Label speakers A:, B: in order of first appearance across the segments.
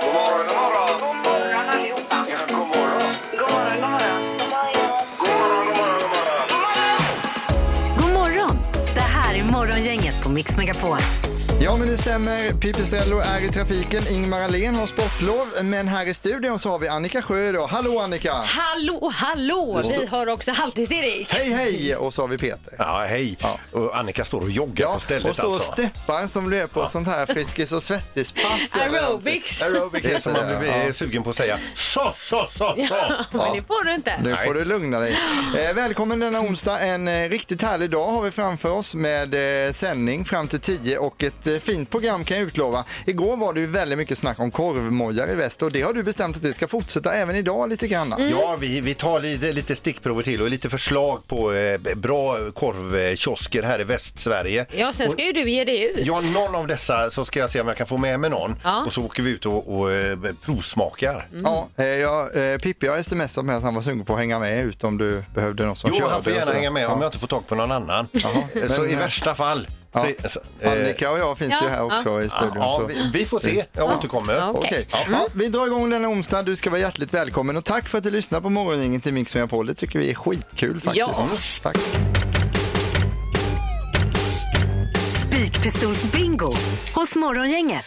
A: God morgon,
B: God
A: god morgon.
B: morgon allihopa.
A: Ja, god morgon.
B: God morgon, god morgon.
A: God morgon, god morgon, god morgon.
C: God morgon! Det här är Morgongänget på Mix Megapol.
D: Ja, men det stämmer. Pipistrello är i trafiken. Ingmar Ahlén har sportlov. Men här i studion så har vi Annika Sjö då. Hallå Annika!
E: Hallå, hallå! Vi har också Halvtids-Erik.
D: Hej hej! Och så har vi Peter.
F: Ja, hej. Och Annika står och joggar på stället
D: och står och
F: alltså.
D: steppar som du är på sånt här Friskis och svettispass. eller
E: Aerobics.
D: någonting. Aerobics
F: Det är som
D: heter
F: man
D: det,
F: blir eh, sugen på att säga. Så, så, så, så.
E: Men det får du inte.
D: Nu
F: Nej.
D: får du lugna dig. Eh, välkommen denna onsdag. En eh, riktigt härlig dag har vi framför oss med eh, sändning fram till 10 och ett eh, fint program kan jag utlova. Igår var det ju väldigt mycket snack om korvmojar i väst och det har du bestämt att det ska fortsätta även idag lite grann.
F: Ja, vi, vi tar lite, lite stickprover till och lite förslag på eh, b- bra korvkiosker här i Västsverige.
E: Ja, sen ska ju du ge dig ut.
F: Ja, någon av dessa så ska jag se om jag kan få med mig någon
E: Ja. Mm.
F: och så åker vi ut och, och eh, provsmakar.
D: Ja, eh, jag, eh, Pippi har smsat med att han var sugen på att hänga med ut om du behövde någon som
F: Jo,
D: körde.
F: han får
D: och
F: gärna
D: sådär.
F: hänga med om
D: Alltså, Ja.
F: jag inte får tag på någon annan. Eh, Så
D: Men,
F: i
D: eh,
F: värsta fall.
D: Ja.
F: Så, så, eh,
D: Annika och jag finns ju
E: Ja,
D: här också i studion.
F: ja,
D: så.
F: vi, vi får se. Jag återkommer.
E: Ja, okej.
D: Okej. Ja, vi drar igång denna onsdag. Du ska vara hjärtligt välkommen och tack för att du lyssnar på Morgongänget i Mix Megapol. Det tycker vi är skitkul faktiskt.
E: Ja.
D: Tack.
C: Spikpistolsbingo hos Morgongänget.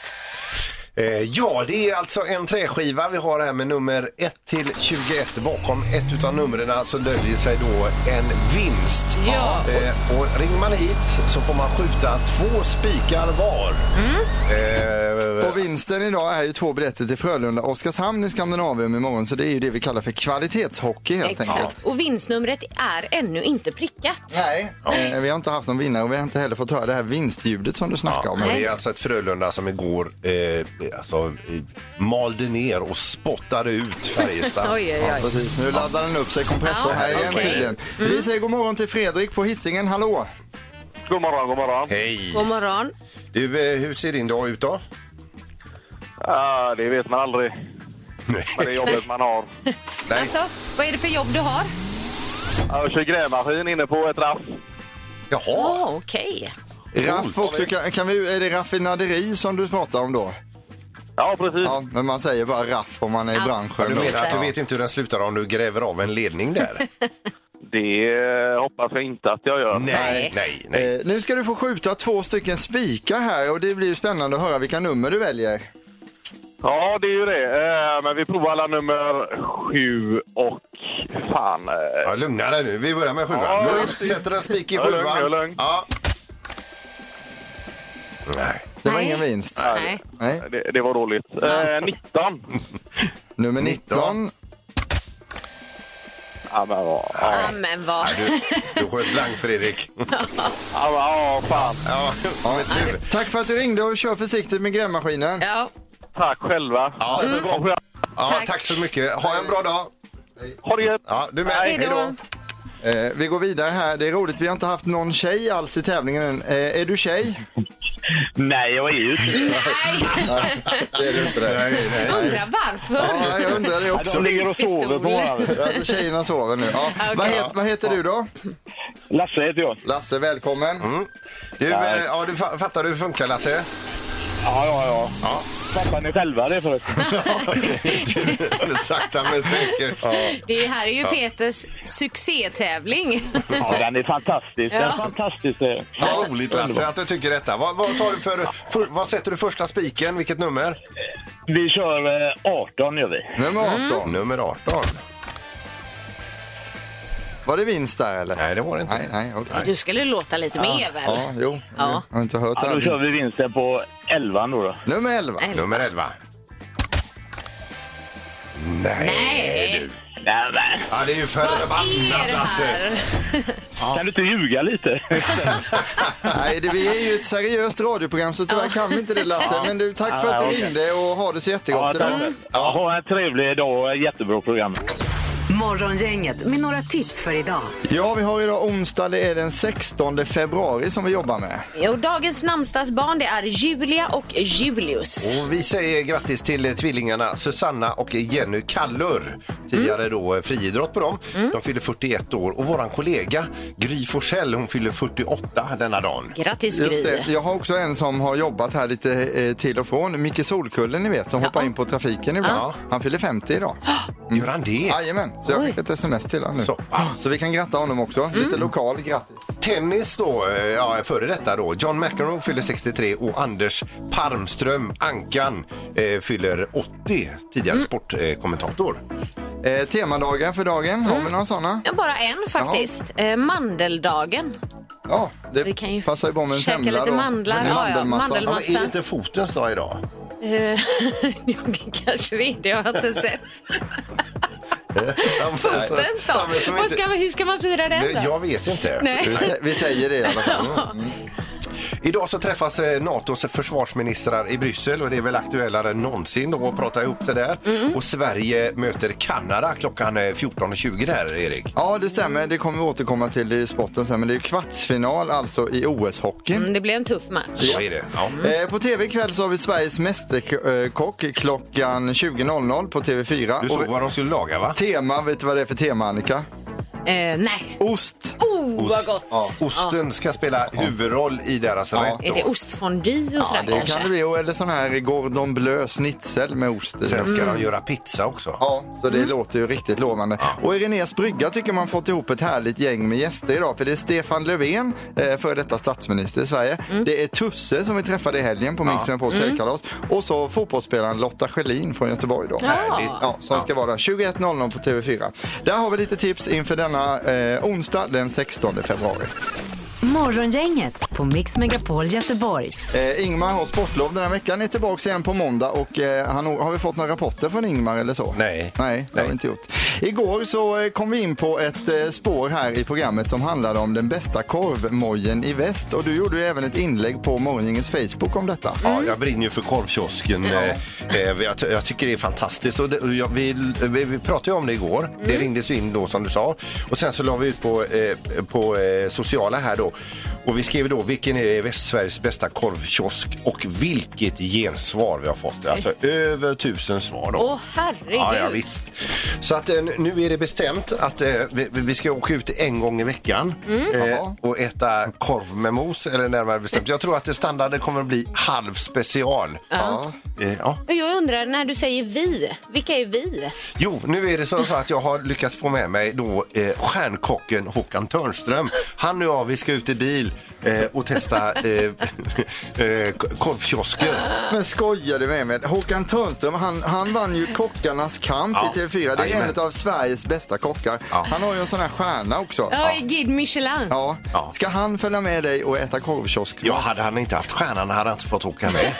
F: Eh, ja, det är alltså en träskiva vi har här med nummer 1 till 21. Bakom ett utav numren så döljer sig då en vinst.
E: Ja.
F: Eh, och ringer man hit så får man skjuta två spikar var.
E: Mm.
F: Eh,
D: Och vinsten idag är ju två biljetter till Frölunda Oskarshamn i Skandinavien imorgon. Så det är ju det vi kallar för kvalitetshockey helt enkelt.
E: Exakt. Och vinstnumret är ännu inte prickat.
D: Nej, eh, vi har inte haft någon vinnare och vi har inte heller fått höra det här vinstljudet som du snackar
F: Ja,
D: om.
F: men det är alltså ett Frölunda som igår eh, alltså, eh, malde ner och spottade ut Färjestad.
E: Oj, oj,
D: Ja,
E: oj.
D: precis. Nu laddar den upp sig, kompressor
E: Ja,
D: här igen
E: okej. Mm.
D: tydligen. Vi säger god morgon till Fredrik på Hisingen. Hallå!
A: God morgon, god morgon.
F: Hej!
E: God morgon.
F: Du, eh, hur ser din dag ut då?
A: Ah, det vet man aldrig med det jobbet man har.
F: Nej.
E: Alltså, vad är det för jobb du har?
A: Ah, Jag kör grävmaskin inne på ett raff.
F: Jaha!
E: Oh, Okej.
D: Raff också, kan, kan vi, är det raffinaderi som du pratar om då?
A: Ja, precis.
D: Ja, men man säger bara raff om man är i
E: Ja.
D: branschen.
F: Du
D: då.
F: menar att du
D: Ja.
F: vet inte hur den slutar om du gräver av en ledning där?
A: Det eh, hoppas jag inte att jag gör.
E: Nej.
F: nej, nej.
D: Eh, nu ska du få skjuta två stycken spikar här och det blir ju spännande att höra vilka nummer du väljer.
A: Ja, det är ju det. Eh, Men vi provar alla nummer sju och fan. eh,
F: Ja, lugna dig nu. Vi börjar med sjuan.
A: Ja,
F: Nu
A: just det.
F: Sätter en spik i
A: Ja, lugn,
F: sjuan.
A: jag är lugn.
F: Ja. Nej.
D: Det var
E: Nej.
D: ingen vinst.
E: Nej.
D: Nej.
A: Det, det var dåligt. Eh, 19.
D: Nummer 19.
A: Ja, men vad...
E: Ja, men vad...
F: Du, du sköt blankt, Fredrik.
A: Ja, men, ja, fan.
F: Ja.
D: Ja.
F: du.
D: Tack för att du ringde och kör försiktigt med grävmaskinen.
E: Ja,
A: Tack själva.
F: Ja. Mm. Ja, tack.
E: Tack.
F: så mycket. Ha en bra dag.
A: Ha det gött.
F: Ja, du med.
A: Hej
E: då.
D: Eh, vi går vidare här. Det är roligt, vi har inte haft någon tjej alls i tävlingen än. Eh, är du tjej?
A: Nej, jag är ju
D: Det är du inte det.
F: Nej, nej.
E: undrar varför.
D: Ja, jag undrar det också.
A: De ligger och sover på morgonen.
D: Alltså, Tjejerna sover nu. Ja.
E: Okej.
D: Vad, heter, vad heter du då?
A: Lasse heter jag.
D: Lasse, välkommen.
A: Mm.
F: Du, eh, ja, du fa- fattar du hur det funkar, Lasse?
A: Ja, ja, ja. Fattar ni själva det förresten?
F: Sakta men säkert. Ja.
E: Det här är ju Peters succétävling.
A: Ja, den är fantastisk. Den är
E: Ja.
A: fantastisk. eh. det är.
F: Vad roligt, Lasse, att du tycker detta. Vad, vad, tar du för, för, vad sätter du första spiken? Vilket nummer?
A: Vi kör eh, 18 gör vi.
D: Nummer 18.
F: Mm. Nummer 18.
D: Var det vinst där eller?
F: Nej, det var det inte.
D: Nej, nej, okej.
E: Du skulle låta lite mer väl?
D: Ja, jo.
E: Ja.
D: Jag har inte hört
A: Ja, då
D: det.
A: kör
D: här.
A: vi vinsten på 11 då. då.
D: Nummer 11.
E: Nej.
F: Nummer 11. Nej,
E: Nej.
F: du.
A: Nej, men,
F: Ja, det är ju
E: Vad är
F: förbannat,
E: det
F: Lasse.
E: här?
A: Kan du inte ljuga lite?
D: Nej, det, vi är ju ett seriöst radioprogram så tyvärr kan vi inte det Lasse. Men du, tack för att
A: Ja,
D: du
A: okej.
D: ringde och ha det så jättegott
A: Ja,
D: idag.
A: tack. Ja, ha en trevlig dag och ett jättebra program.
C: Morgongänget med några tips för idag.
D: Ja, vi har idag onsdag, det är den 16 februari som vi jobbar med.
E: Och dagens namnsdagsbarn det är Julia och Julius.
F: Och vi säger grattis till eh, tvillingarna Susanna och Jenny Kallur. Tidigare då eh, friidrott på dem.
E: Mm.
F: De fyller 41 år och våran kollega Gry Forssell hon fyller 48 denna dagen.
E: Grattis
D: Just
E: Gry.
D: det. Jag har också en som har jobbat här lite eh, till och från. Micke Solkullen, ni vet, som hoppar in på trafiken ibland.
F: Ja.
D: Han fyller 50 idag.
E: Mm.
F: Gör han det?
D: Jajamän, så jag har
E: Oj. Mm.
D: skickat ett sms till honom nu. Ah,
F: Så.
D: Så. vi kan gratta honom också. Lite lokal grattis.
F: Tennis då, eh, ja före detta då. John McEnroe fyller 63 och Anders Palmström, Ankan, eh, fyller 80. Tidigare
E: Mm.
F: sportkommentator.
D: Eh, temadagar för dagen, har vi några sådana?
E: Mm. Ja, bara en faktiskt. Eh, mandeldagen.
D: Ja, det
E: vi kan ju
D: passar ju på med en
E: käka
D: semla
E: lite
D: då.
E: mandlar.
D: En
E: Ja, ja,
D: mandelmassa.
E: mandelma-
F: Men är det inte fotens dag idag?
E: Eh, ja, det kanske det är. Det har jag inte sett. Fotens dag.
F: Ja, men som
E: Vad
F: inte-
E: ska man- Hur ska man fira den då?
F: Jag vet inte.
E: Nej.
D: Vi, sä- vi säger det i alla fall.
F: Idag så träffas eh, NATOs försvarsministrar i Bryssel och det är väl aktuellare än någonsin då att prata ihop sig där. Och Sverige möter Kanada klockan eh, 14.20 där, Erik.
D: Ja, det stämmer. Det kommer vi återkomma till i spotten sen. Men det är ju kvartsfinal alltså i OS-hockey.
E: Mm, Det blir en tuff match.
F: Så är det. Ja.
E: Mm.
D: Eh, På tv ikväll så har vi Sveriges Mästerkock klockan 20.00 på TV4.
F: Du
D: Och
F: såg vad de skulle laga, va?
D: tema, vet du vad det är för tema Annika?
E: Eh, nej.
D: Ost!
E: Oh, vad gott!
F: Ja. Osten ska spela huvudroll i deras rätt.
E: Är det
F: då.
E: ostfondy och sådär
D: det
E: kanske?
D: kan det bli. Och Eller sån här Gordon Bleu schnitzel med ost i.
F: Sen ska de göra pizza också.
D: Ja, så det låter ju riktigt lovande. Och i Renés brygga tycker man fått ihop ett härligt gäng med gäster idag. För det är Stefan Löfven, eh, före detta statsminister i Sverige. Det är Tusse som vi träffade i helgen på Mix Megapols helgkalas. Och så fotbollsspelaren Lotta Schelin från Göteborg då.
F: Härligt.
D: Ja, som ska vara 21.00 på TV4. Där har vi lite tips inför denna eh, onsdag den 16 februari.
C: Morgongänget på Mix Megapol Göteborg.
D: Eh, Ingmar har sportlov den här veckan, är tillbaka igen på måndag och eh, han, har vi fått några rapporter från Ingmar eller så?
F: Nej.
D: Nej, det har vi inte gjort. Igår så eh, kom vi in på ett eh, spår här i programmet som handlade om den bästa korvmojen i väst och du gjorde ju även ett inlägg på Morgongängets Facebook om detta.
F: Ja, jag brinner ju för korvkiosken. Eh, eh, jag, ty- jag tycker det är fantastiskt. Och det, och jag, vi, vi, vi pratade ju om det igår. Det ringdes ju in då som du sa. Och sen så la vi ut på, eh, på eh, sociala här då. Och vi skrev då vilken är Västsveriges bästa korvkiosk och vilket gensvar vi har fått. Alltså över tusen svar då.
E: Åh, herregud.
F: Ja, ja, visst. Så att eh, nu är det bestämt att eh, vi, vi ska åka ut en gång i veckan eh,
D: Jaha.
F: och äta korv med mos. Eller närmare bestämt, jag tror att det standarden kommer att bli halv special. Ja. Eh, ja.
E: Och Jag undrar, när du säger vi, vilka är vi?
F: Jo, nu är det så så att jag har lyckats få med mig då eh, stjärnkocken Håkan Törnström. Han och jag, vi ska ut i bil eh, och testa eh, eh, korvkiosken.
D: Men skojar du med mig? Håkan Törnström, han, han vann ju Kockarnas kamp
F: Ja.
D: i TV4. Det är
F: Jajamän.
D: en av Sveriges bästa kockar.
F: Ja.
D: Han har ju en sån här stjärna också.
E: Ja, Guide Michelin.
D: Ja.
F: Ja.
D: Ska han följa med dig och äta korvkiosk?
F: Ja, hade han inte haft stjärnan hade han inte fått åka med.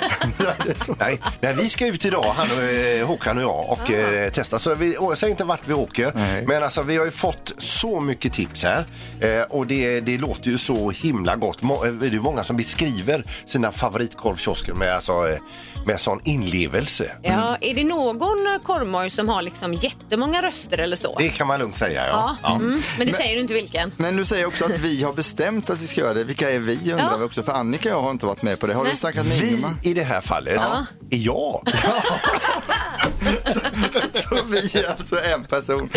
F: nej, nej, vi ska ut idag, han och, eh, Håkan och jag, och eh, testa. Så vi och jag säger inte vart vi åker,
D: Ah. Nej.
F: men alltså, vi har ju fått så mycket tips här. Eh, och det, det låter ju så himla gott. Må, eh, det är många som beskriver sina favoritkorvkiosker med, alltså, eh, med sån inlevelse.
E: Ja, är det någon korvmoj som har liksom jättemånga röster eller så?
F: Det kan man lugnt säga.
E: Ja,
F: Ja. Ja.
E: Mm. men det säger du inte vilken.
D: Men du säger också att vi har bestämt att vi ska göra det. Vilka är vi undrar
E: Ja.
D: vi också. För Annika och jag har inte varit med på det. Har du
E: Nej.
D: snackat med
F: Vi
D: Ingemar?
F: i det här fallet är jag.
D: Så vi är alltså en person.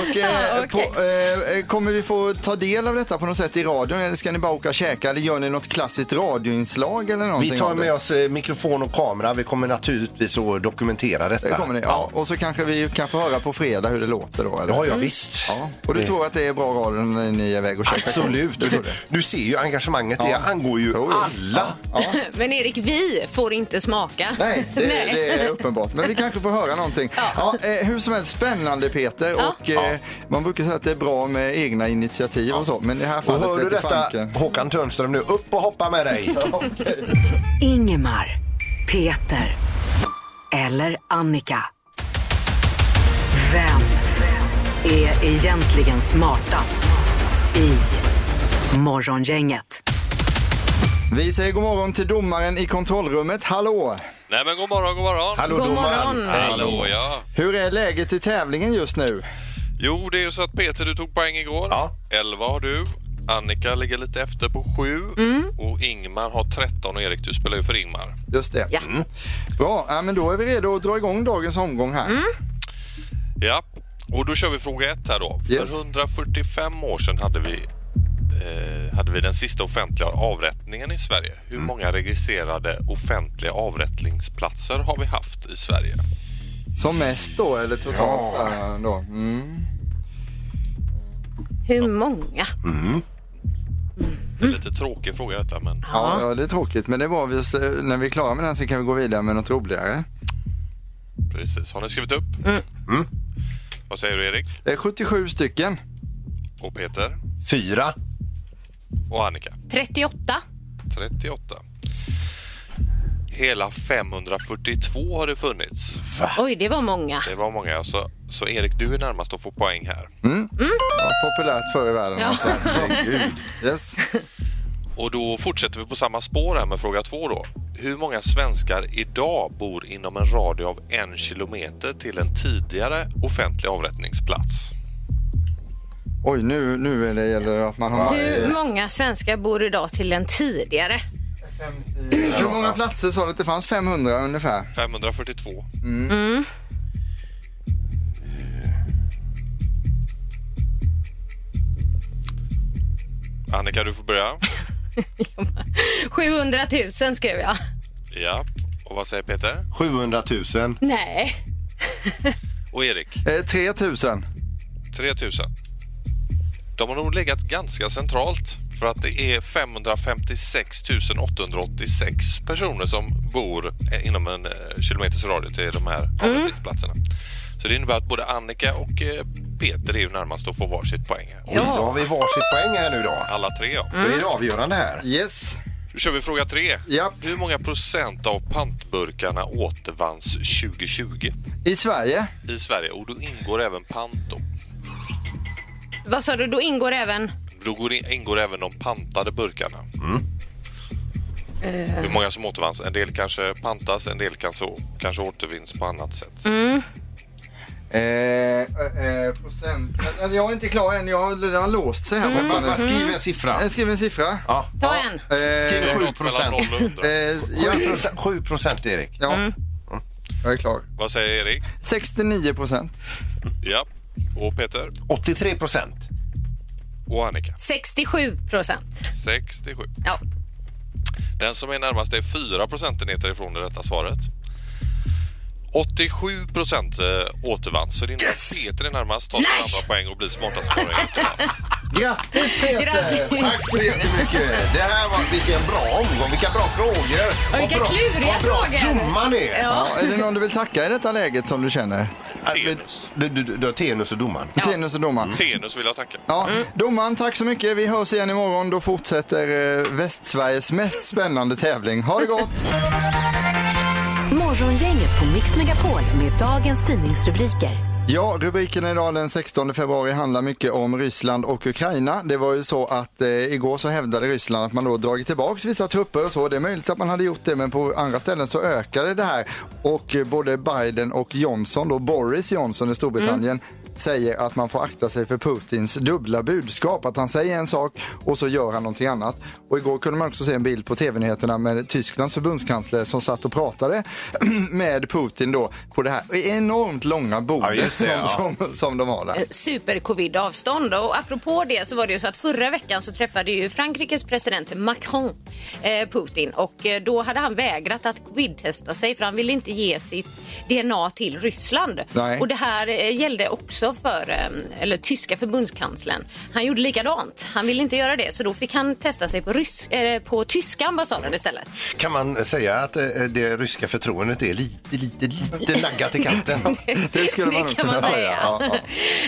D: Och, eh,
E: Ja, okej.
D: på, eh, kommer vi få ta del av detta på något sätt i radion? Eller ska ni bara åka och käka? Eller gör ni något klassiskt radioinslag eller någonting?
F: Vi tar
D: av det?
F: med oss eh, mikrofon och kamera. Vi kommer naturligtvis att dokumentera detta.
D: Det kommer ni. Ja. Och så kanske vi kan få höra på fredag hur det låter då. Eller?
F: Ja, ja visst.
D: Mm. Ja. Och du tror att det är bra radio när ni är iväg och käkar?
F: Absolut.
D: Du
F: Du,
D: tror det?
F: du ser ju engagemanget. Det
D: Ja.
F: angår ju
D: Jo, jo.
F: alla.
E: Men Erik, vi får inte smaka.
D: Nej, det,
E: Nej.
D: det är uppenbart. Men vi kanske får höra någonting. Ja. eh, hur som helst, spännande Peter. Och, eh, man brukar säga att det är bra med egna initiativ och så, men i det här
F: Och
D: fallet
F: hör du
D: vet
F: detta,
D: fanken.
F: Håkan Törnström, nu upp och hoppa med dig.
C: Ingemar, Peter eller Annika. Vem är egentligen smartast i Morgongänget?
D: Vi säger god morgon till domaren i kontrollrummet. Hallå!
G: Nej men god morgon, god morgon.
F: Hallå
E: God
F: domaren.
E: morgon.
G: Hallå ja.
D: Hur är läget i tävlingen just nu?
G: Jo, det är ju så att Peter, du tog poäng igår.
F: Ja.
G: 11 har du. Annika ligger lite efter på 7. Och Ingmar har 13 och Erik, du spelar ju för Ingmar.
D: Just det.
E: Ja.
D: Mm. Bra, ja, men då är vi redo att dra igång dagens omgång här.
G: Ja, och då kör vi fråga 1 här då.
D: Yes.
G: För 145 år sedan hade vi, eh, hade vi den sista offentliga avrättningen i Sverige. Hur många registrerade offentliga avrättningsplatser har vi haft i Sverige?
D: Som mest då, eller totalt?
F: Ja.
D: Ja. Då. Mm.
E: Hur många?
G: Det är lite tråkig fråga detta, men
D: Ja, ja, det är tråkigt, men det var vi, när vi är klara med den så kan vi gå vidare med något roligare.
G: precis. Har ni skrivit upp? Vad säger du Erik?
D: Eh, 77 stycken.
G: Och Peter?
F: Fyra.
G: Och Annika?
E: 38.
G: 38. Hela 542 har det funnits.
F: Ah.
E: Oj, det var många.
G: Det var många. Så, så Erik, du är närmast att få poäng här.
D: Ja, populärt förr i världen
E: Ja.
D: alltså. Herregud. Yes.
G: Och då fortsätter vi på samma spår här med fråga två då. Hur många svenskar idag bor inom en radie av en kilometer till en tidigare offentlig avrättningsplats?
D: Oj, nu, nu är det, gäller det att man har...
E: Hur många svenskar bor idag till en tidigare?
D: Hur många platser sa du att det fanns? 500 ungefär?
G: 542. Eh. Annika, du får börja.
E: 700 000 skrev jag.
G: Ja. Och vad säger Peter?
F: 700 000.
E: Nej.
G: Och Erik?
D: Eh, 3000.
G: 3000. De har nog legat ganska centralt för att det är 556 886 personer som bor eh, inom en eh, kilometers radie till de här avrättningsplatserna. Så det innebär att både Annika och eh, Peter är ju närmast att få varsitt poäng. här.
F: Oj, då har vi varsitt poäng här nu då.
G: Alla tre ja.
F: Då är
E: Mm.
F: det avgörande här.
D: Yes.
G: Då kör vi fråga tre.
D: Japp.
G: Hur många procent av pantburkarna återvanns 2020
D: I Sverige?
G: i Sverige? Och då ingår även pant då.
E: Vad sa du? Då ingår även...
G: Då går det- ingår även de pantade burkarna. Hur många som återvanns? En del kanske pantas, en del kanske, kanske återvinns på annat sätt.
D: Eh, eh, procent. Men Jag är inte klar än, jag har redan låst sig här borta
F: Man, man
D: nu. Mm.
F: skriver Mm. en siffra.
D: Jag skriver en siffra.
F: Ja.
E: Ta en.
D: Eh,
G: Det är
F: 7
G: något
F: procent.
G: mellan 0 och 100.
D: eh, ja,
F: 7 procent. 7 procent Erik.
D: ja.
E: Mm.
D: Jag är klar.
G: Vad säger Erik?
D: 69 procent.
G: Ja. Och Peter?
F: 83 procent.
G: Och Annika?
E: 67 procent.
G: 67.
E: Ja.
G: Den som är närmast är 4 procentenheter ifrån det rätta svaret. 87 procent eh, återvanns, så det innebär att Peter är närmast, tar sin andra poäng och blir smartast på det.
D: Grattis Peter!
E: Grattis!
F: Tack så jättemycket. Det här var, vilken bra omgång, vilka bra frågor. Vad
E: vilka
F: bra-
E: kluriga
F: vad bra
E: frågor.
F: domaren är.
E: Ja.
D: Ja, är det någon du vill tacka i detta läget som du känner?
F: Ja, Äh, men-
G: Tenus.
F: Du, du, du, du har Tenus och domaren.
D: Tenus och domaren.
G: Tenus vill jag tacka.
D: Ja, domaren, tack så mycket. Vi hörs igen imorgon. Då fortsätter eh, Västsveriges mest spännande tävling. Ha det gott!
C: Morgongänget på Mix Megapol med dagens tidningsrubriker.
D: Ja, rubriken idag den 16 februari handlar mycket om Ryssland och Ukraina. Det var ju så att eh, igår så hävdade Ryssland att man då dragit tillbaks vissa trupper och så. Det är möjligt att man hade gjort det, men på andra ställen så ökade det här. Och eh, både Biden och Johnson, då Boris Johnson i Storbritannien, säger att man får akta sig för Putins dubbla budskap. Att han säger en sak och så gör han någonting annat. Och igår kunde man också se en bild på tv-nyheterna med Tysklands förbundskansler som satt och pratade med Putin då på det här enormt långa bordet
F: Ja, just det,
D: som,
F: ja.
D: som, som de har där.
E: Eh, super-covid-avstånd. Och apropå det så var det ju så att förra veckan så träffade ju Frankrikes president Macron eh, Putin och eh, då hade han vägrat att covid-testa sig för han ville inte ge sitt DNA till Ryssland.
D: Nej.
E: Och det här eh, gällde också för eh, eller, tyska förbundskanslern. Han gjorde likadant. Han ville inte göra det så då fick han testa sig på, rysk, eh, på tyska ambassaden istället.
F: Kan man säga att eh, det ryska förtroendet är lite, lite, lite naggat i kanten?
D: Det skulle man nog
E: kan
D: kunna
E: man
D: säga.
E: säga.
D: Ja,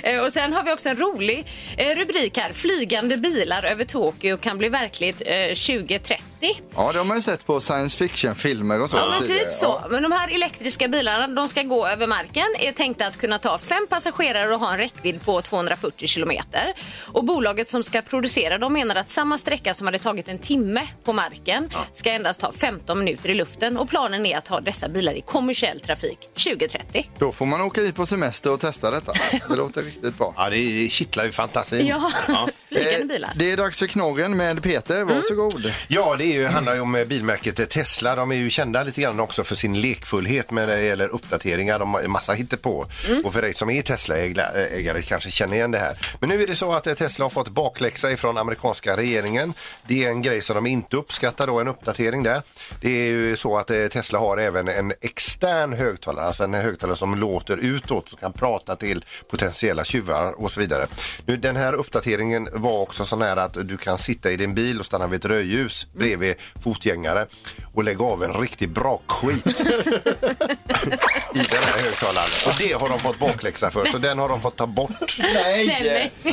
E: Eh, Och sen har vi också en rolig eh, rubrik här. Flygande bilar över Tokyo kan bli verkligt eh, 2030. 80.
D: Ja, det har man ju sett på science fiction-filmer och så.
E: Ja, men
D: tidigare.
E: typ så.
D: Ja.
E: Men de här elektriska bilarna, de ska gå över marken, är tänkta att kunna ta fem passagerare och ha en räckvidd på 240 kilometer. Och bolaget som ska producera, de menar att samma sträcka som hade tagit en timme på marken ska endast ta 15 minuter i luften och planen är att ha dessa bilar i kommersiell trafik 2030.
D: Då får man åka dit på semester och testa detta. Det låter riktigt bra.
F: Ja, det kittlar ju fantasin.
E: Ja, flygande
D: Eh,
E: bilar. Mm.
D: Det är dags för knorren med Peter. Varsågod.
F: Ja, det är ju, handlar ju om eh, bilmärket Tesla. De är ju kända lite grann också för sin lekfullhet när det gäller uppdateringar. De har en massa på. Och för dig som är Tesla-ägare kanske känner igen det här. Men nu är det så att eh, Tesla har fått bakläxa ifrån amerikanska regeringen. Det är en grej som de inte uppskattar då, en uppdatering där. Det är ju så att eh, Tesla har även en extern högtalare, alltså en högtalare som låter utåt, som kan prata till potentiella tjuvar och så vidare. Nu, den här uppdateringen var också så nära att du kan sitta i din bil och stanna vid ett rödljus bredvid fotgängare och lägga av en riktigt bra skit i den här högtalaren. Och det har de fått bakläxa för, så den har de fått ta bort.
D: eh,
E: Nej, men,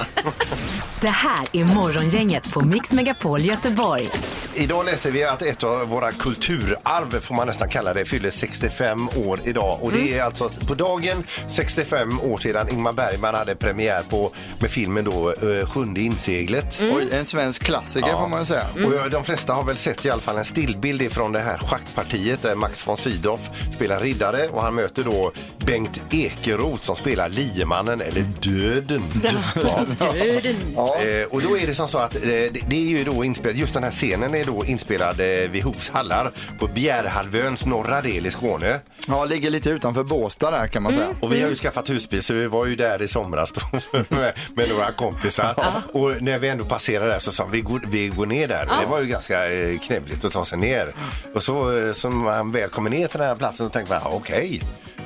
C: Det här är Morgongänget på Mix Megapol Göteborg.
F: Idag läser vi att ett av våra kulturarv, får man nästan kalla det, fyller 65 år idag. Och det är alltså på dagen 65 år sedan Ingmar Bergman hade premiär på med filmen då eh, Sjunde inseglet.
D: Oj, en svensk klassiker får man ju säga.
F: Och jag- de flesta har väl sett i alla fall en stillbild från det här schackpartiet där Max von Sydow spelar riddare och han möter då Bengt Ekeroth som spelar liemannen eller döden. Ja. Eh, och då är det som så att eh, det, det är ju då inspelat, just den här scenen är då inspelad eh, vid Hovs hallar på Bjärhalvöns norra del i Skåne.
D: Ja, ligger lite utanför Båstad där kan man säga.
E: Mm.
F: Och vi har ju skaffat husbil så vi var ju där i somras då, med, med några kompisar. Och när vi ändå passerade där så sa vi, vi går, vi går ner där. Men det var ju ganska eh, knävligt att ta sig ner. Och så eh, som man väl kommer ner till den här platsen så tänker man, ah, okej.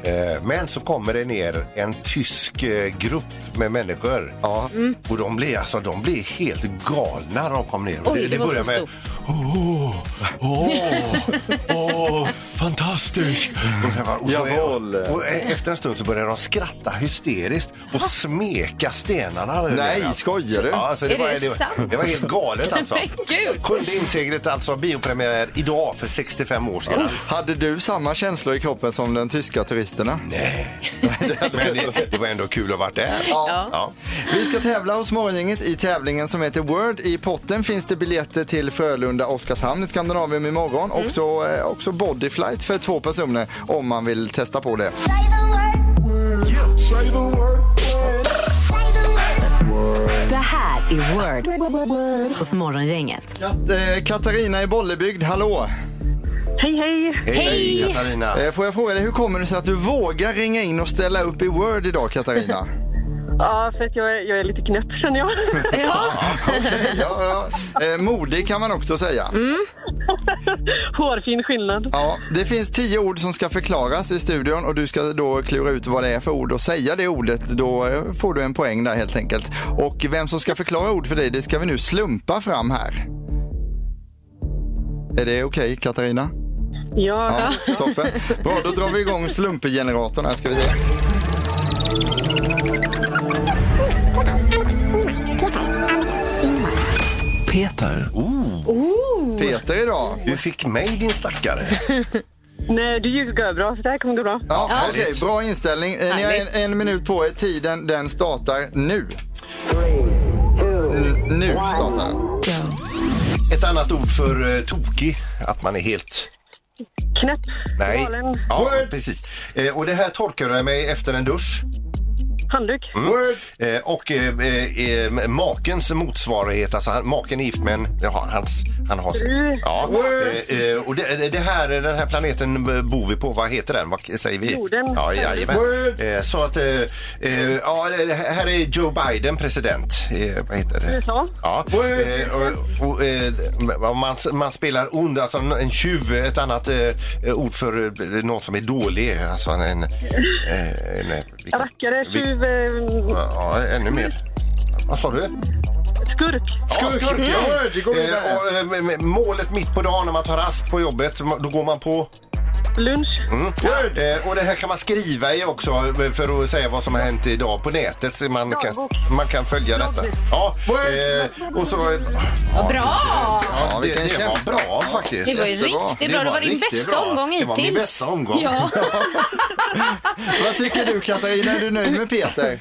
F: Eh, Men så kommer det ner en tysk eh, grupp med människor.
D: Ja.
F: Och de blir, alltså, de blir helt galna när de kom ner. Och
E: Oj, det var så
F: med
E: stort.
F: Åh, åh, åh, fantastiskt! Och så, och
D: Jawohl.
F: och, och efter en stund så började de skratta hysteriskt och smeka stenarna. där
D: Nej,
F: nere.
D: skojar du?
F: Ja, alltså,
E: Är
F: det, var,
E: det
F: det, var,
E: sant?
F: det var helt galet alltså.
E: Men gud.
F: Sjunde inseglet alltså, biopremiär idag för 65 år
D: Oh.
F: sedan.
D: Hade du samma känslor i kroppen som den tyska turisterna?
F: Nej. Men det, det var ändå kul att vara där.
D: Ja.
F: Ja.
D: Vi ska tävla hos Morgongänget i tävlingen som heter Word. I potten finns det biljetter till Frölunda Oskarshamn i Skandinavien imorgon. Och så, eh, också bodyflight för två personer om man vill testa på det.
C: Det här är Word hos Morgongänget.
D: Kat- eh, Katarina i Bollebygd, hallå!
B: Hej, hej.
F: Hej,
E: Hej.
F: Katarina.
D: Eh, Får jag fråga dig, hur kommer det sig att du vågar ringa in och ställa upp i Word idag Katarina?
B: Ja, för att jag är, jag är lite knäpp känner jag.
E: ja,
D: Okej, ja, ja. Eh, Modig kan man också säga.
B: Hårfin skillnad.
D: Ja, det finns tio ord som ska förklaras i studion och du ska då klura ut vad det är för ord och säga det ordet. Då eh, får du en poäng där helt enkelt. Och vem som ska förklara ord för dig, det ska vi nu slumpa fram här. Är det okej Katarina?
B: Ja,
D: Ja, toppen. Bra, då drar vi igång slumpgeneratorn här ska vi se.
F: Peter. Oh,
D: Peter idag.
F: du fick mig din stackare.
B: nej du ljuger bra så det här kommer gå bra.
D: Ja, Okej, bra inställning. Eh, Ni har en,
E: Härligt.
D: en minut på er. Tiden den startar nu. N- nu startar den.
F: Ett annat ord för eh, tokig, att man är helt
B: Knäpp.
F: Nej.
B: Galen.
F: Ja, precis. Eh, och det här torkar jag mig efter en dusch.
B: Handduk.
D: Word.
F: Eh, och eh, eh, eh, makens motsvarighet, alltså han, maken är gift med en, ja, hans, han har
B: Mm.
F: sitt. Ja. Eh, eh, och det, det- det här, den här planeten eh, bor vi på, vad heter den? Vad säger vi?
B: Jorden.
F: Ja, jajamän.
D: Word.
F: Eh, så att, eh, eh, ja, det- här är Joe Biden president. Eh, vad heter det?
B: USA.
F: Ja.
D: Word.
F: Eh, och, och, eh, vad man, man spelar ond, alltså en- en tjuv, ett annat eh, ord för eh, någon som är dålig. Alltså en... en, eh, en, vilken-
B: Rackare,
F: vil-
B: tjuv, eh,
F: Ja, ännu mer. Vad sa du?
B: skurk.
D: Skurk, ja. Det går vidare.
F: Eh, och, eh, m- m- målet mitt på dagen när man tar rast på jobbet, då går man på...
B: Lunch.
F: Mm. Eh, och det här kan man skriva i också eh, för att säga vad som har hänt idag på nätet. Så man, kan, man kan följa detta. Ja, eh, och så... eh,
E: Vad bra!
F: Ja, det,
D: vilken
F: det var
D: kämpe.
F: bra faktiskt.
E: Det var ju
F: Jättebra.
E: riktigt bra. Det var din
F: riktigt
E: bästa
F: bra.
E: omgång
F: Det var min
E: hittills.
F: bästa omgång.
E: Ja.
D: Vad tycker du Katarina? Är du nöjd med Peter?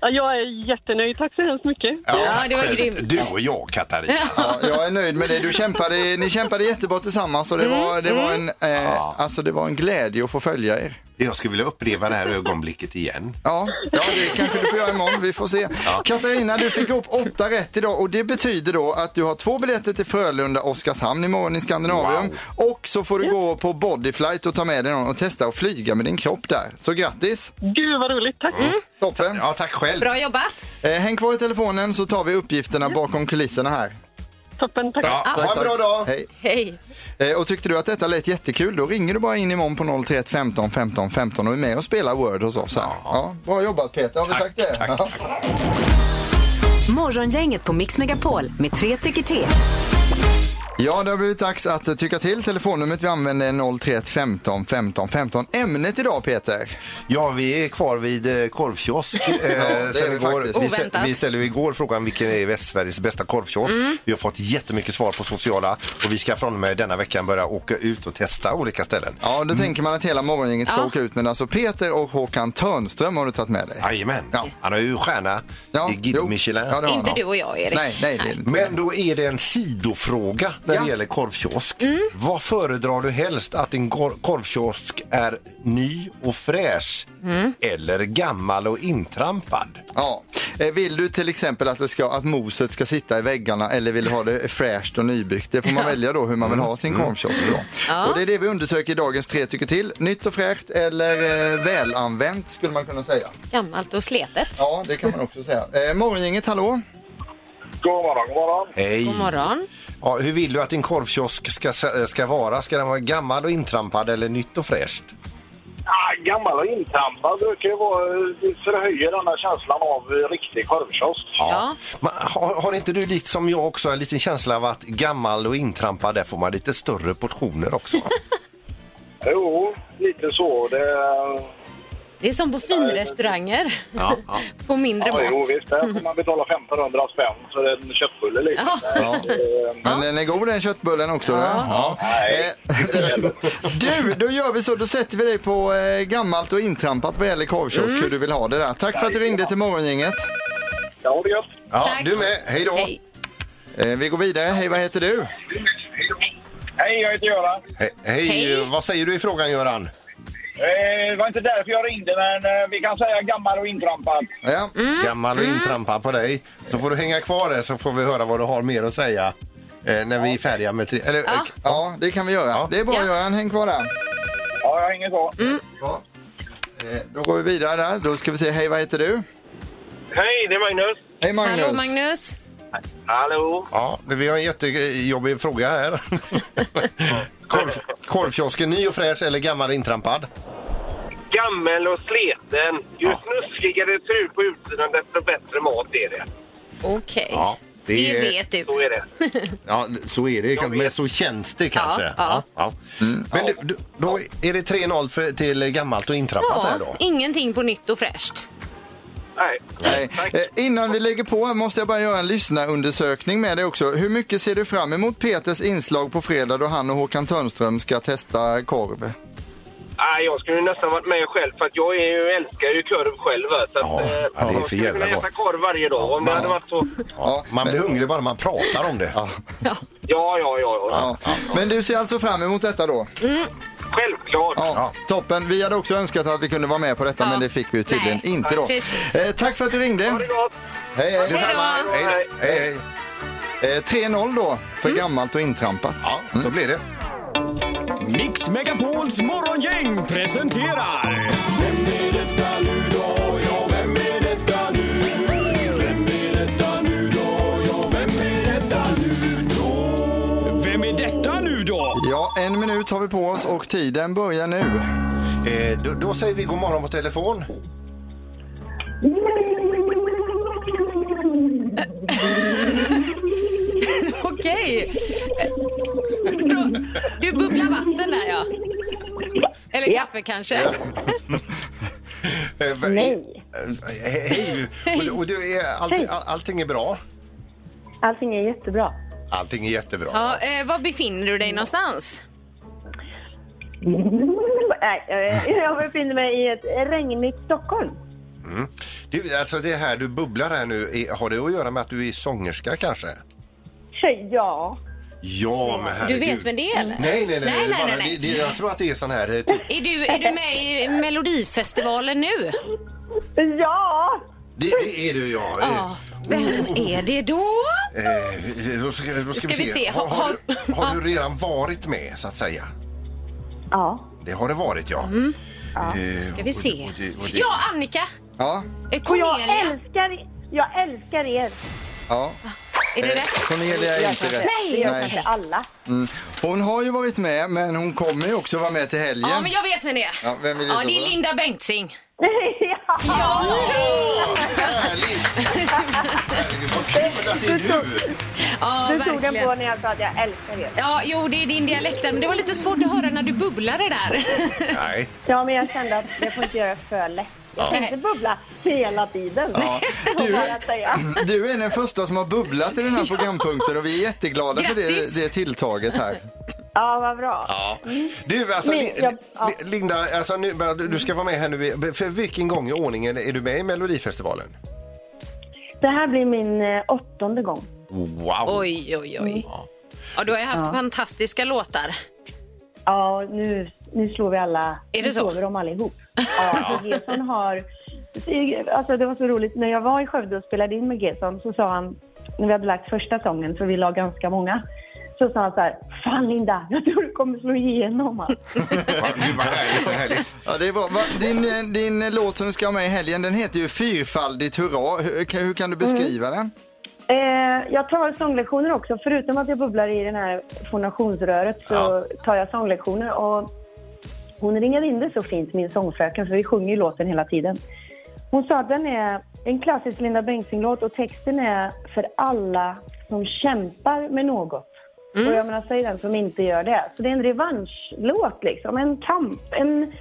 B: Ja, jag är jättenöjd. Tack så hemskt mycket.
F: Ja,
E: Ja,
F: tack
E: det var
F: själv.
E: grymt.
F: Du och jag, Katarina.
D: Ja, jag är nöjd med det. Du kämpade, ni kämpade jättebra tillsammans och det var, det var, en, eh, alltså det var en glädje att få följa er.
F: Jag skulle vilja uppleva det här ögonblicket igen.
D: Ja, ja, det kanske du får göra imorgon. Vi får se. Katarina, du fick ihop åtta rätt idag och det betyder då att du har två biljetter till Frölunda Oskarshamn imorgon i Skandinavium. Och så får du gå på Bodyflight och ta med dig någon och testa att flyga med din kropp där. Så grattis!
B: Gud, vad roligt. Tack.
F: Mm.
D: Toppen!
F: Ja, tack själv.
E: Bra jobbat!
D: Eh, häng kvar i telefonen så tar vi uppgifterna bakom kulisserna här.
B: Toppen. Tack.
F: Ja, ha en bra dag.
D: Hej.
E: Hej!
D: Eh, Och tyckte du att detta lät jättekul, då ringer du bara in imorgon på 031 15 15 15 och är med och spelar Word hos oss här. Ja, bra jobbat Peter, har vi sagt det?
F: tack,
D: Ja.
F: tack.
C: Morgongänget på Mix Megapol med tre tycker till.
D: Ja, det har blivit dags att eh, tycka till. Telefonnumret vi använder är 031 15 15 15. Ämnet idag Peter.
F: Ja, vi är kvar vid eh, korvkiosk. Eh,
D: är
F: sen
D: vi
F: igår,
D: faktiskt.
F: vi, stä-
E: Oväntat.
F: vi ställde ju igår frågan vilken är Västsveriges bästa korvkiosk.
D: Mm.
F: Vi har fått jättemycket svar på sociala och vi ska från och med denna veckan börja åka ut och testa olika ställen.
D: Ja, då tänker man att hela morgongänget ska
E: Ja.
D: åka ut, men alltså Peter och Håkan Törnström har du tagit med dig.
F: Jajamän,
D: Ja.
F: han är ju stjärna
D: Ja,
F: i Guide
D: jo.
F: Michelin.
D: Ja, det har
E: Inte
D: han.
E: du och jag, Erik.
D: Nej, nej, det är inte.
F: Men då är det en sidofråga när
D: Ja. Mm.
F: det gäller korvkiosk. Vad föredrar du helst att din kor- korvkiosk är ny och fräsch
D: Mm.
F: eller gammal och intrampad?
D: Ja. Eh, Vill du till exempel att, det ska, att moset ska sitta i väggarna eller vill du ha det fräscht och nybyggt? Det får man välja då hur man vill ha sin korvkiosk. Då.
E: Ja.
D: Och det är det vi undersöker i dagens Tre tycker till. Nytt och fräscht eller eh, välanvänt skulle man kunna säga.
E: Gammalt och sletet.
D: Ja, det kan man också säga. Eh, morgongänget, hallå?
A: God morgon, god morgon.
F: Hej!
E: God morgon.
F: Ja, hur vill du att din korvkiosk ska, ska vara? Ska den vara gammal och intrampad eller nytt och fräscht?
A: Ah, gammal och intrampad brukar ju vara, eh, förhöjer den här känslan av eh, riktig korvkiosk.
E: Ja.
F: Men har, har inte du likt som jag också en liten känsla av att gammal och intrampad, där får man lite större portioner också?
A: Jo, lite så. Det,
E: Det är som på finrestauranger.
F: Ja, ja.
E: På mindre
A: ja, jo,
E: mat.
A: visst, där får man betala 1500 spänn för en köttbulle. Liksom.
E: Ja.
A: Eh,
D: Men den är god den köttbullen också. Ja.
A: Nej.
D: Eh, du, då gör vi så. Då sätter vi dig på eh, gammalt och intrampat vad gäller korvkiosk, hur du vill ha det där. Tack för att du ringde till morgongänget.
A: Ja, ha det gött.
F: ja
E: Tack.
F: du med, hej då!
E: Hej.
D: Eh, vi går vidare. Hej, vad heter du?
A: Hej, jag heter Göran.
F: He- hej.
E: Hej.
F: Vad säger du i frågan Göran?
A: Eh, Det var inte därför jag ringde, men eh, vi kan säga gammal och intrampad.
D: Ja.
E: Mm.
F: Gammal och intrampad på dig. Så får du hänga kvar där så får vi höra vad du har mer att säga eh, när vi är färdiga med tre... Eller,
E: Ja.
F: eh,
D: Ja, det kan vi göra.
F: Ja.
D: Det är bra
E: Ja.
D: Göran, häng kvar där.
A: Ja, jag hänger på.
D: Ja. Eh, Då går vi vidare där. Då ska vi se, hej vad heter du?
A: Hej, det är Magnus.
D: Hej Magnus.
E: Hallå Magnus.
A: Hallå.
F: Ja, vi har en jättejobbig fråga här. Korv, korvkiosken, ny och fräsch eller gammal och intrampad?
A: Gammel och sleten. Ju snuskigare det ser ut på utsidan, desto bättre mat är det.
E: Okej.
F: Ja, det
E: det,
F: är-
E: vet du.
A: Så är det.
F: Ja, så är det. Men så känns det kanske.
E: Ja,
F: Ja,
E: ja.
F: ja. Men du, du, då är det 3-0 för, till gammalt och intrappat här
E: Ja,
F: då?
E: ingenting på nytt och fräscht.
A: Nej.
D: Nej. Eh, Innan vi lägger på här måste jag bara göra en lyssnarundersökning med dig också. Hur mycket ser du fram emot Peters inslag på fredag då han och Håkan Törnström ska testa korv?
A: Nej, jag skulle ju nästan varit med själv för att jag är ju, älskar ju korv själv. va, Så
F: Ja,
A: att, eh,
F: ja, det är
A: jag
F: för
A: skulle
F: jävla
A: kunna äta
F: gott.
A: korv varje dag om det hade varit så.
F: Ja, man blir hungrig bara man pratar om det.
A: Ja, ja, ja. ja.
D: Ja. Men du ser alltså fram emot detta då?
A: Självklart.
D: Ja,
F: Ja.
D: Toppen. Vi hade också önskat att vi kunde vara med på detta
E: Ja.
D: men det fick vi ju tydligen
E: Nej.
D: inte då.
E: Precis.
D: Eh, tack för att du ringde.
A: Ha det gott.
D: Hej, hej.
F: Detsamma.
E: då.
F: Hej, då. hej, hej.
D: Eh, 3-0 då för
E: Mm.
D: gammalt och intrampat.
F: Ja, så blir det.
H: Mix Megapols morgongäng presenterar... Vem är detta nu då?
D: Ja, en minut har vi på oss och tiden börjar nu.
F: Eh, då, då säger vi god morgon på telefon.
E: Okej. Eh, Du bubblar vatten där ja. Eller
I: Ja.
E: kaffe kanske.
F: Eh,
I: Nej,
F: eh, Hej! Och, och du är, allting, all, allting är bra?
I: allting är jättebra.
F: Allting är jättebra.
E: Ja, eh, var befinner du dig någonstans?
I: Nej, eh, jag befinner mig i ett regnigt Stockholm.
F: Du, alltså det här du bubblar här nu, är- har det att göra med att du är sångerska kanske?
I: Tjej, ja.
F: Ja, men
E: Du
F: herregud.
E: vet vem det är eller?
F: Nej, nej, nej.
E: Nej,
F: det är
E: nej,
F: bara,
E: nej, nej.
F: Det, det, jag tror att det är sån här... eh, Typ,
E: Är du, är du med i Melodifestivalen nu?
I: Ja!
F: det, det är du, ja. Eh,
E: Ja. Vem är det då?
F: Eh, då ska, då ska,
E: Ska
F: vi se.
E: vi se.
F: Har, har, du-
E: Ja.
F: har du redan varit med, så att säga?
I: Ja.
F: Det har det varit, ja. Eh,
E: Mm. Ska vi
F: och
E: se.
F: och det- och det-
E: Ja, Annika!
D: Ja,
E: Eh,
I: Och jag
E: Cornelia.
I: älskar, jag älskar er.
D: ja.
E: Är det rätt?
D: Cornelia är inte rätt.
I: Det gör
E: Nej!
I: kanske alla.
D: Hon har ju varit med, men hon kommer ju också vara med till helgen.
E: Ja, men jag vet vem det är.
D: Ja, vem är det
E: Ja,
D: som
E: det är
D: var?
E: Linda Bengtzing.
I: ja.
F: Härligt! Herregud, Vad kul att det är du!
E: Ja,
I: Du tog den på
E: verkligen.
I: när jag sa att jag älskar er.
E: Ja, jo, det är din dialekt där, men det var lite svårt att höra när du bubblade där.
F: Nej.
I: Ja, men jag kände att jag får inte göra för lätt. Jag kan inte bubbla hela tiden. Ja.
D: Du,
I: Jag säga.
D: du är den första som har bubblat i den här programpunkten och vi är jätteglada för
E: Grattis!
D: det, det tilltaget här.
I: ja, vad bra.
F: Ja. Du, alltså,
I: Men,
F: Li-
I: jag-
F: Li-
I: ja.
F: Linda, alltså, nu, men du du ska vara med här nu. För vilken gång i ordningen är du med i Melodifestivalen?
I: Det här blir min eh, åttonde gång.
F: Wow!
E: Oj, oj,
I: Mm.
E: oj. Ja, du har ju haft fantastiska låtar.
I: Ja, nu, nu slår vi alla.
E: Är det
I: nu
E: så?
I: slår vi dem allihop. Ja, för Gerson har... Alltså det var så roligt, när jag var i Skövde och spelade in med Gerson så sa han, när vi hade lagt första sången, för vi la ganska många, så sa han så här, Fan Linda, jag tror du kommer slå igenom. alltså."
F: Vad- Gud, vad härligt, vad härligt.
D: Ja, det är bra. Va, din, eh, din eh, låt som du ska ha med i helgen, den heter ju Fyrfaldigt hurra. Hur, kan- hur kan du beskriva den?
I: Eh, jag tar sånglektioner också. Förutom att jag bubblar i det här fonationsröret så tar jag sånglektioner. Och hon ringade in det så fint, min sångfröken, för vi sjunger ju låten hela tiden. Hon sa att den är en klassisk Linda Bengtzing-låt och texten är för alla som kämpar med något. Och jag menar, säg den som inte gör det. Så det är en revanschlåt liksom, en kamp, en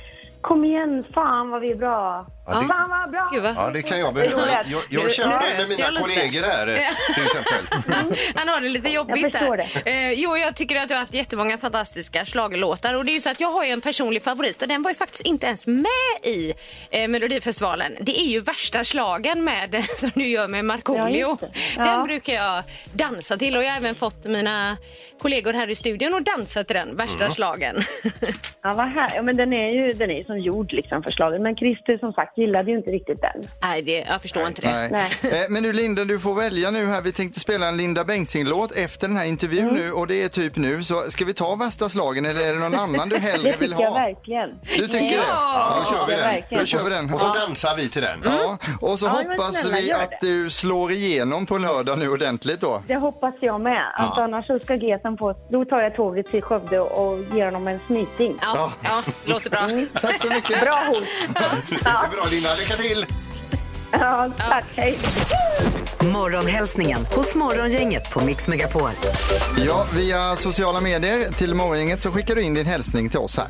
I: kom igen, fan vad vi är bra.
F: Ja, det-
I: Fan vad bra!
E: Gud, vad-
F: Ja, det kan jag
I: Det är
F: behöva.
I: roligt.
F: Jag,
E: Nu-
F: jag kämpar
E: nu
F: med
E: rös jag
F: mina
E: lite.
F: kollegor här, eh, till exempel.
E: Han har det lite jobbigt
I: Jag förstår
E: där. Eh, jo, jag tycker att du har haft jättemånga fantastiska schlagerlåtar och det är ju så att jag har ju en personlig favorit och den var ju faktiskt inte ens med i eh, Melodifestivalen. Det är ju värsta slagen med som du gör med Markoolio.
I: Ja, just det. Ja.
E: Den brukar jag dansa till och jag har även fått mina kollegor här i studion och dansat till den, värsta slagen.
I: Ja, vad här. Ja, men den är ju den är ju som gjord liksom förslagen. Men Christer som sagt gillade ju inte riktigt den.
E: Nej, det, jag förstår inte det.
D: Nej.
I: Nej.
D: Eh, Men nu Linda, du får välja nu här. Vi tänkte spela en Linda Bengtzing-låt efter den här intervjun
I: Mm.
D: nu och det är typ nu. Så ska vi ta värsta slagen eller är det någon annan du
I: Det
D: hellre vill
I: tycker jag
D: ha?
I: verkligen.
D: Du tycker det?
F: Ja, då kör vi
I: Ja,
F: den.
I: verkligen.
D: Då kör vi den.
F: Och så dansar vi till den.
D: Ja, och så
I: Ja, men
D: hoppas
I: snälla,
D: vi
I: gör
D: att
I: det.
D: du slår igenom på lördag nu ordentligt då.
I: Det hoppas jag med. Alltså, Annars så ska Geten få... Då tar jag tåget till Skövde och ger honom en snyting.
E: Ja, ja, låter bra.
I: Mm.
D: Tack så mycket.
I: Bra hot!
F: Det är bra Linda, lycka till!
I: Ja, tack. Hej.
C: Morgonhälsningen hos Morgongänget på Mix Megapol.
D: Ja, via sociala medier till Morgongänget så skickar du in din hälsning till oss här.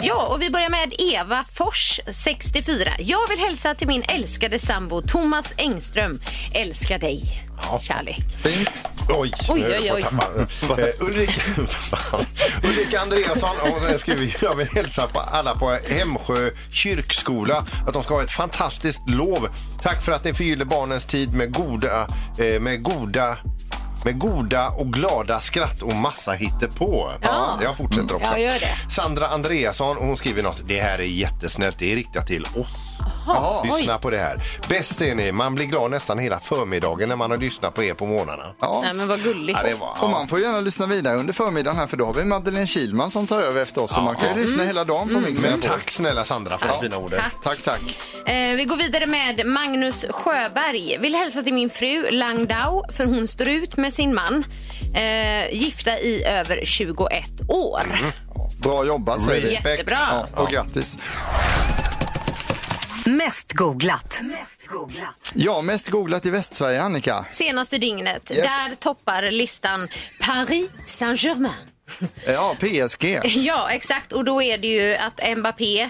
E: Ja, och vi börjar med Eva Fors, 64. Jag vill hälsa till min älskade sambo Thomas Engström. Älskar dig. Kärlek.
D: Fint.
F: Oj,
E: Oj,
F: nu höll
E: oj,
F: jag
E: oj.
F: på att tappa. Eh, Ulrika, fan. Ulrika Andreasson hon skriver jag vill hälsa på alla på Hemsjö kyrkskola att de ska ha ett fantastiskt lov. Tack för att ni förgyller barnens tid med goda, eh, med goda med goda och glada skratt och massa hittepå.
E: Ja. Mm,
F: Jag fortsätter också.
E: Ja, gör det.
F: Sandra Andreasson hon skriver något. Det här är jättesnällt. Det är riktat till oss. Lyssna på det här. Bäst är ni. Man blir glad nästan hela förmiddagen när man har lyssnat på er på morgnarna.
D: Ja.
E: Nej, men vad gulligt.
F: Ja, det var,
D: Och man får gärna lyssna vidare under förmiddagen här för då har vi Madeleine Kilman som tar över efter oss. Så man kan ju lyssna hela dagen på Mix
F: Men
D: Megapol.
F: Mm. tack snälla Sandra för de fina orden.
E: Tack.
D: Tack, tack.
E: Eh, vi går vidare med Magnus Sjöberg. Vill hälsa till min fru Langdau, för hon står ut med sin man. Eh, gifta i över 21 år.
D: Bra jobbat säger vi.
F: Mm, Respekt.
E: Jättebra.
D: Ja, och grattis.
C: Mest googlat.
D: Ja, mest googlat i Västsverige, Annika.
E: Senaste dygnet.
D: Japp.
E: Där toppar listan Paris Saint-Germain.
D: Ja, PSG.
E: Ja, exakt. Och då är det ju att Mbappé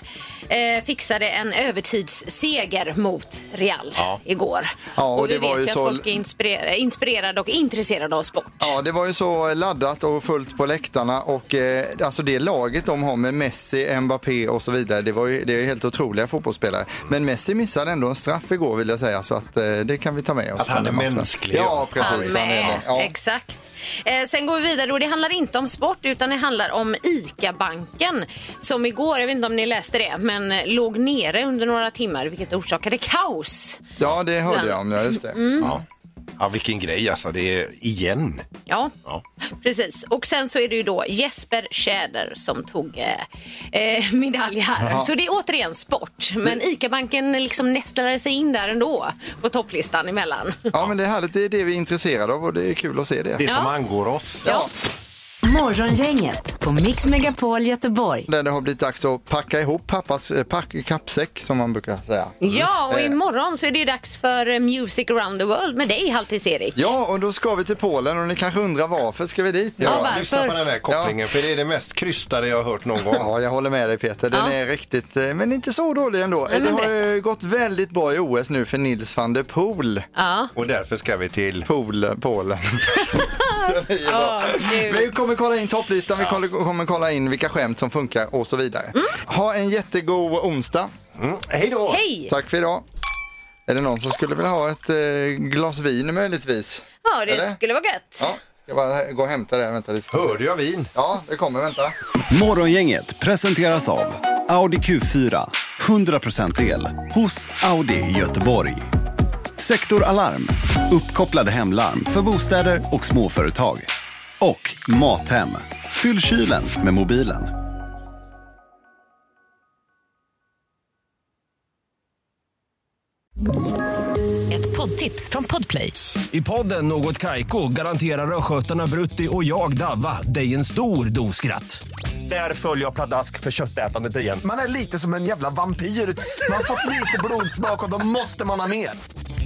E: eh, fixade en övertidsseger mot Real igår.
D: Ja, och
E: och vi
D: det var
E: vet
D: ju
E: ju att
D: så-
E: folk är inspirerade, inspirerade och intresserade av sport.
D: Ja, det var ju så laddat och fullt på läktarna och eh, alltså det laget de har med Messi, Mbappé och så vidare, det, var ju, det är ju helt otroliga fotbollsspelare. Men Messi missade ändå en straff igår vill jag säga, så att eh, det kan vi ta med oss.
F: Att han
D: från
F: är
D: den matchen.
F: mänsklig,
D: Ja, precis.
E: Han
D: Han är det.
E: med.
D: Ja.
E: Exakt. Eh, sen går vi vidare och det handlar inte om sport utan det handlar om ICA-banken som igår, jag vet inte om ni läste det, men eh, låg nere under några timmar vilket orsakade kaos.
D: ja, det hörde jag om, ja, just det.
F: Ja. Mm. ja, vilken grej alltså. Det är igen.
E: Ja,
F: Ja.
E: precis. Och sen så är det ju då Jesper Tjäder som tog eh, eh, medalj här. Så det är återigen sport. Men ICA-banken liksom nästlade sig in där ändå på topplistan emellan.
D: Ja, men det är härligt, det är det vi är intresserade av och det är kul att se det.
F: Det som
E: Ja.
F: angår oss.
E: Ja.
C: Morgongänget på Mix Megapol Göteborg.
D: Där det har blivit dags att packa ihop pappas eh, pack, kappsäck som man brukar säga.
E: Ja, och
D: Eh,
E: imorgon så är det ju dags för eh, Music around the world med dig, Halvtids-Erik.
D: Ja, och då ska vi till Polen och ni kanske undrar varför ska vi dit?
E: Ja,
F: Ja, lyssna på
E: varför?
F: den här kopplingen, för det är det mest krystade jag har hört någon gång.
D: Ja, jag håller med dig Peter. Den
E: Ja.
D: är riktigt, eh, men inte så dålig ändå.
E: Nej,
D: det
E: men
D: har eh, gått väldigt bra i OS nu för Nils van der Poel.
E: Ja.
F: Och därför ska vi till...
D: Pool, Polen.
E: Åh, gud.
D: vi kommer kolla in topplistan, vi koll- kommer kolla in vilka skämt som funkar och så vidare.
E: Mm.
D: Ha en jättegod onsdag.
F: Mm. Hej då!
E: Hej!
D: Tack för idag. Är det någon som skulle vilja ha ett eh, glas vin möjligtvis?
E: Ja, det
D: Eller?
E: skulle vara gött.
D: Ja, jag bara gå och hämta det. här. Vänta lite.
F: Hörde jag vin?
D: Ja, det kommer. Vänta.
J: Morgongänget presenteras av Audi Q4. 100% el hos Audi Göteborg. Sektor Alarm. Uppkopplade hemlarm för bostäder och småföretag. Och Mathem. Fyll kylen med mobilen.
C: Ett poddtips från Podplay.
H: I podden Något Kaiko garanterar östgötarna Brutti och jag, Davva, dig en stor dos skratt. Där följer jag pladask för köttätandet igen.
K: Man är lite som en jävla vampyr. Man har fått lite blodsmak och då måste man ha mer.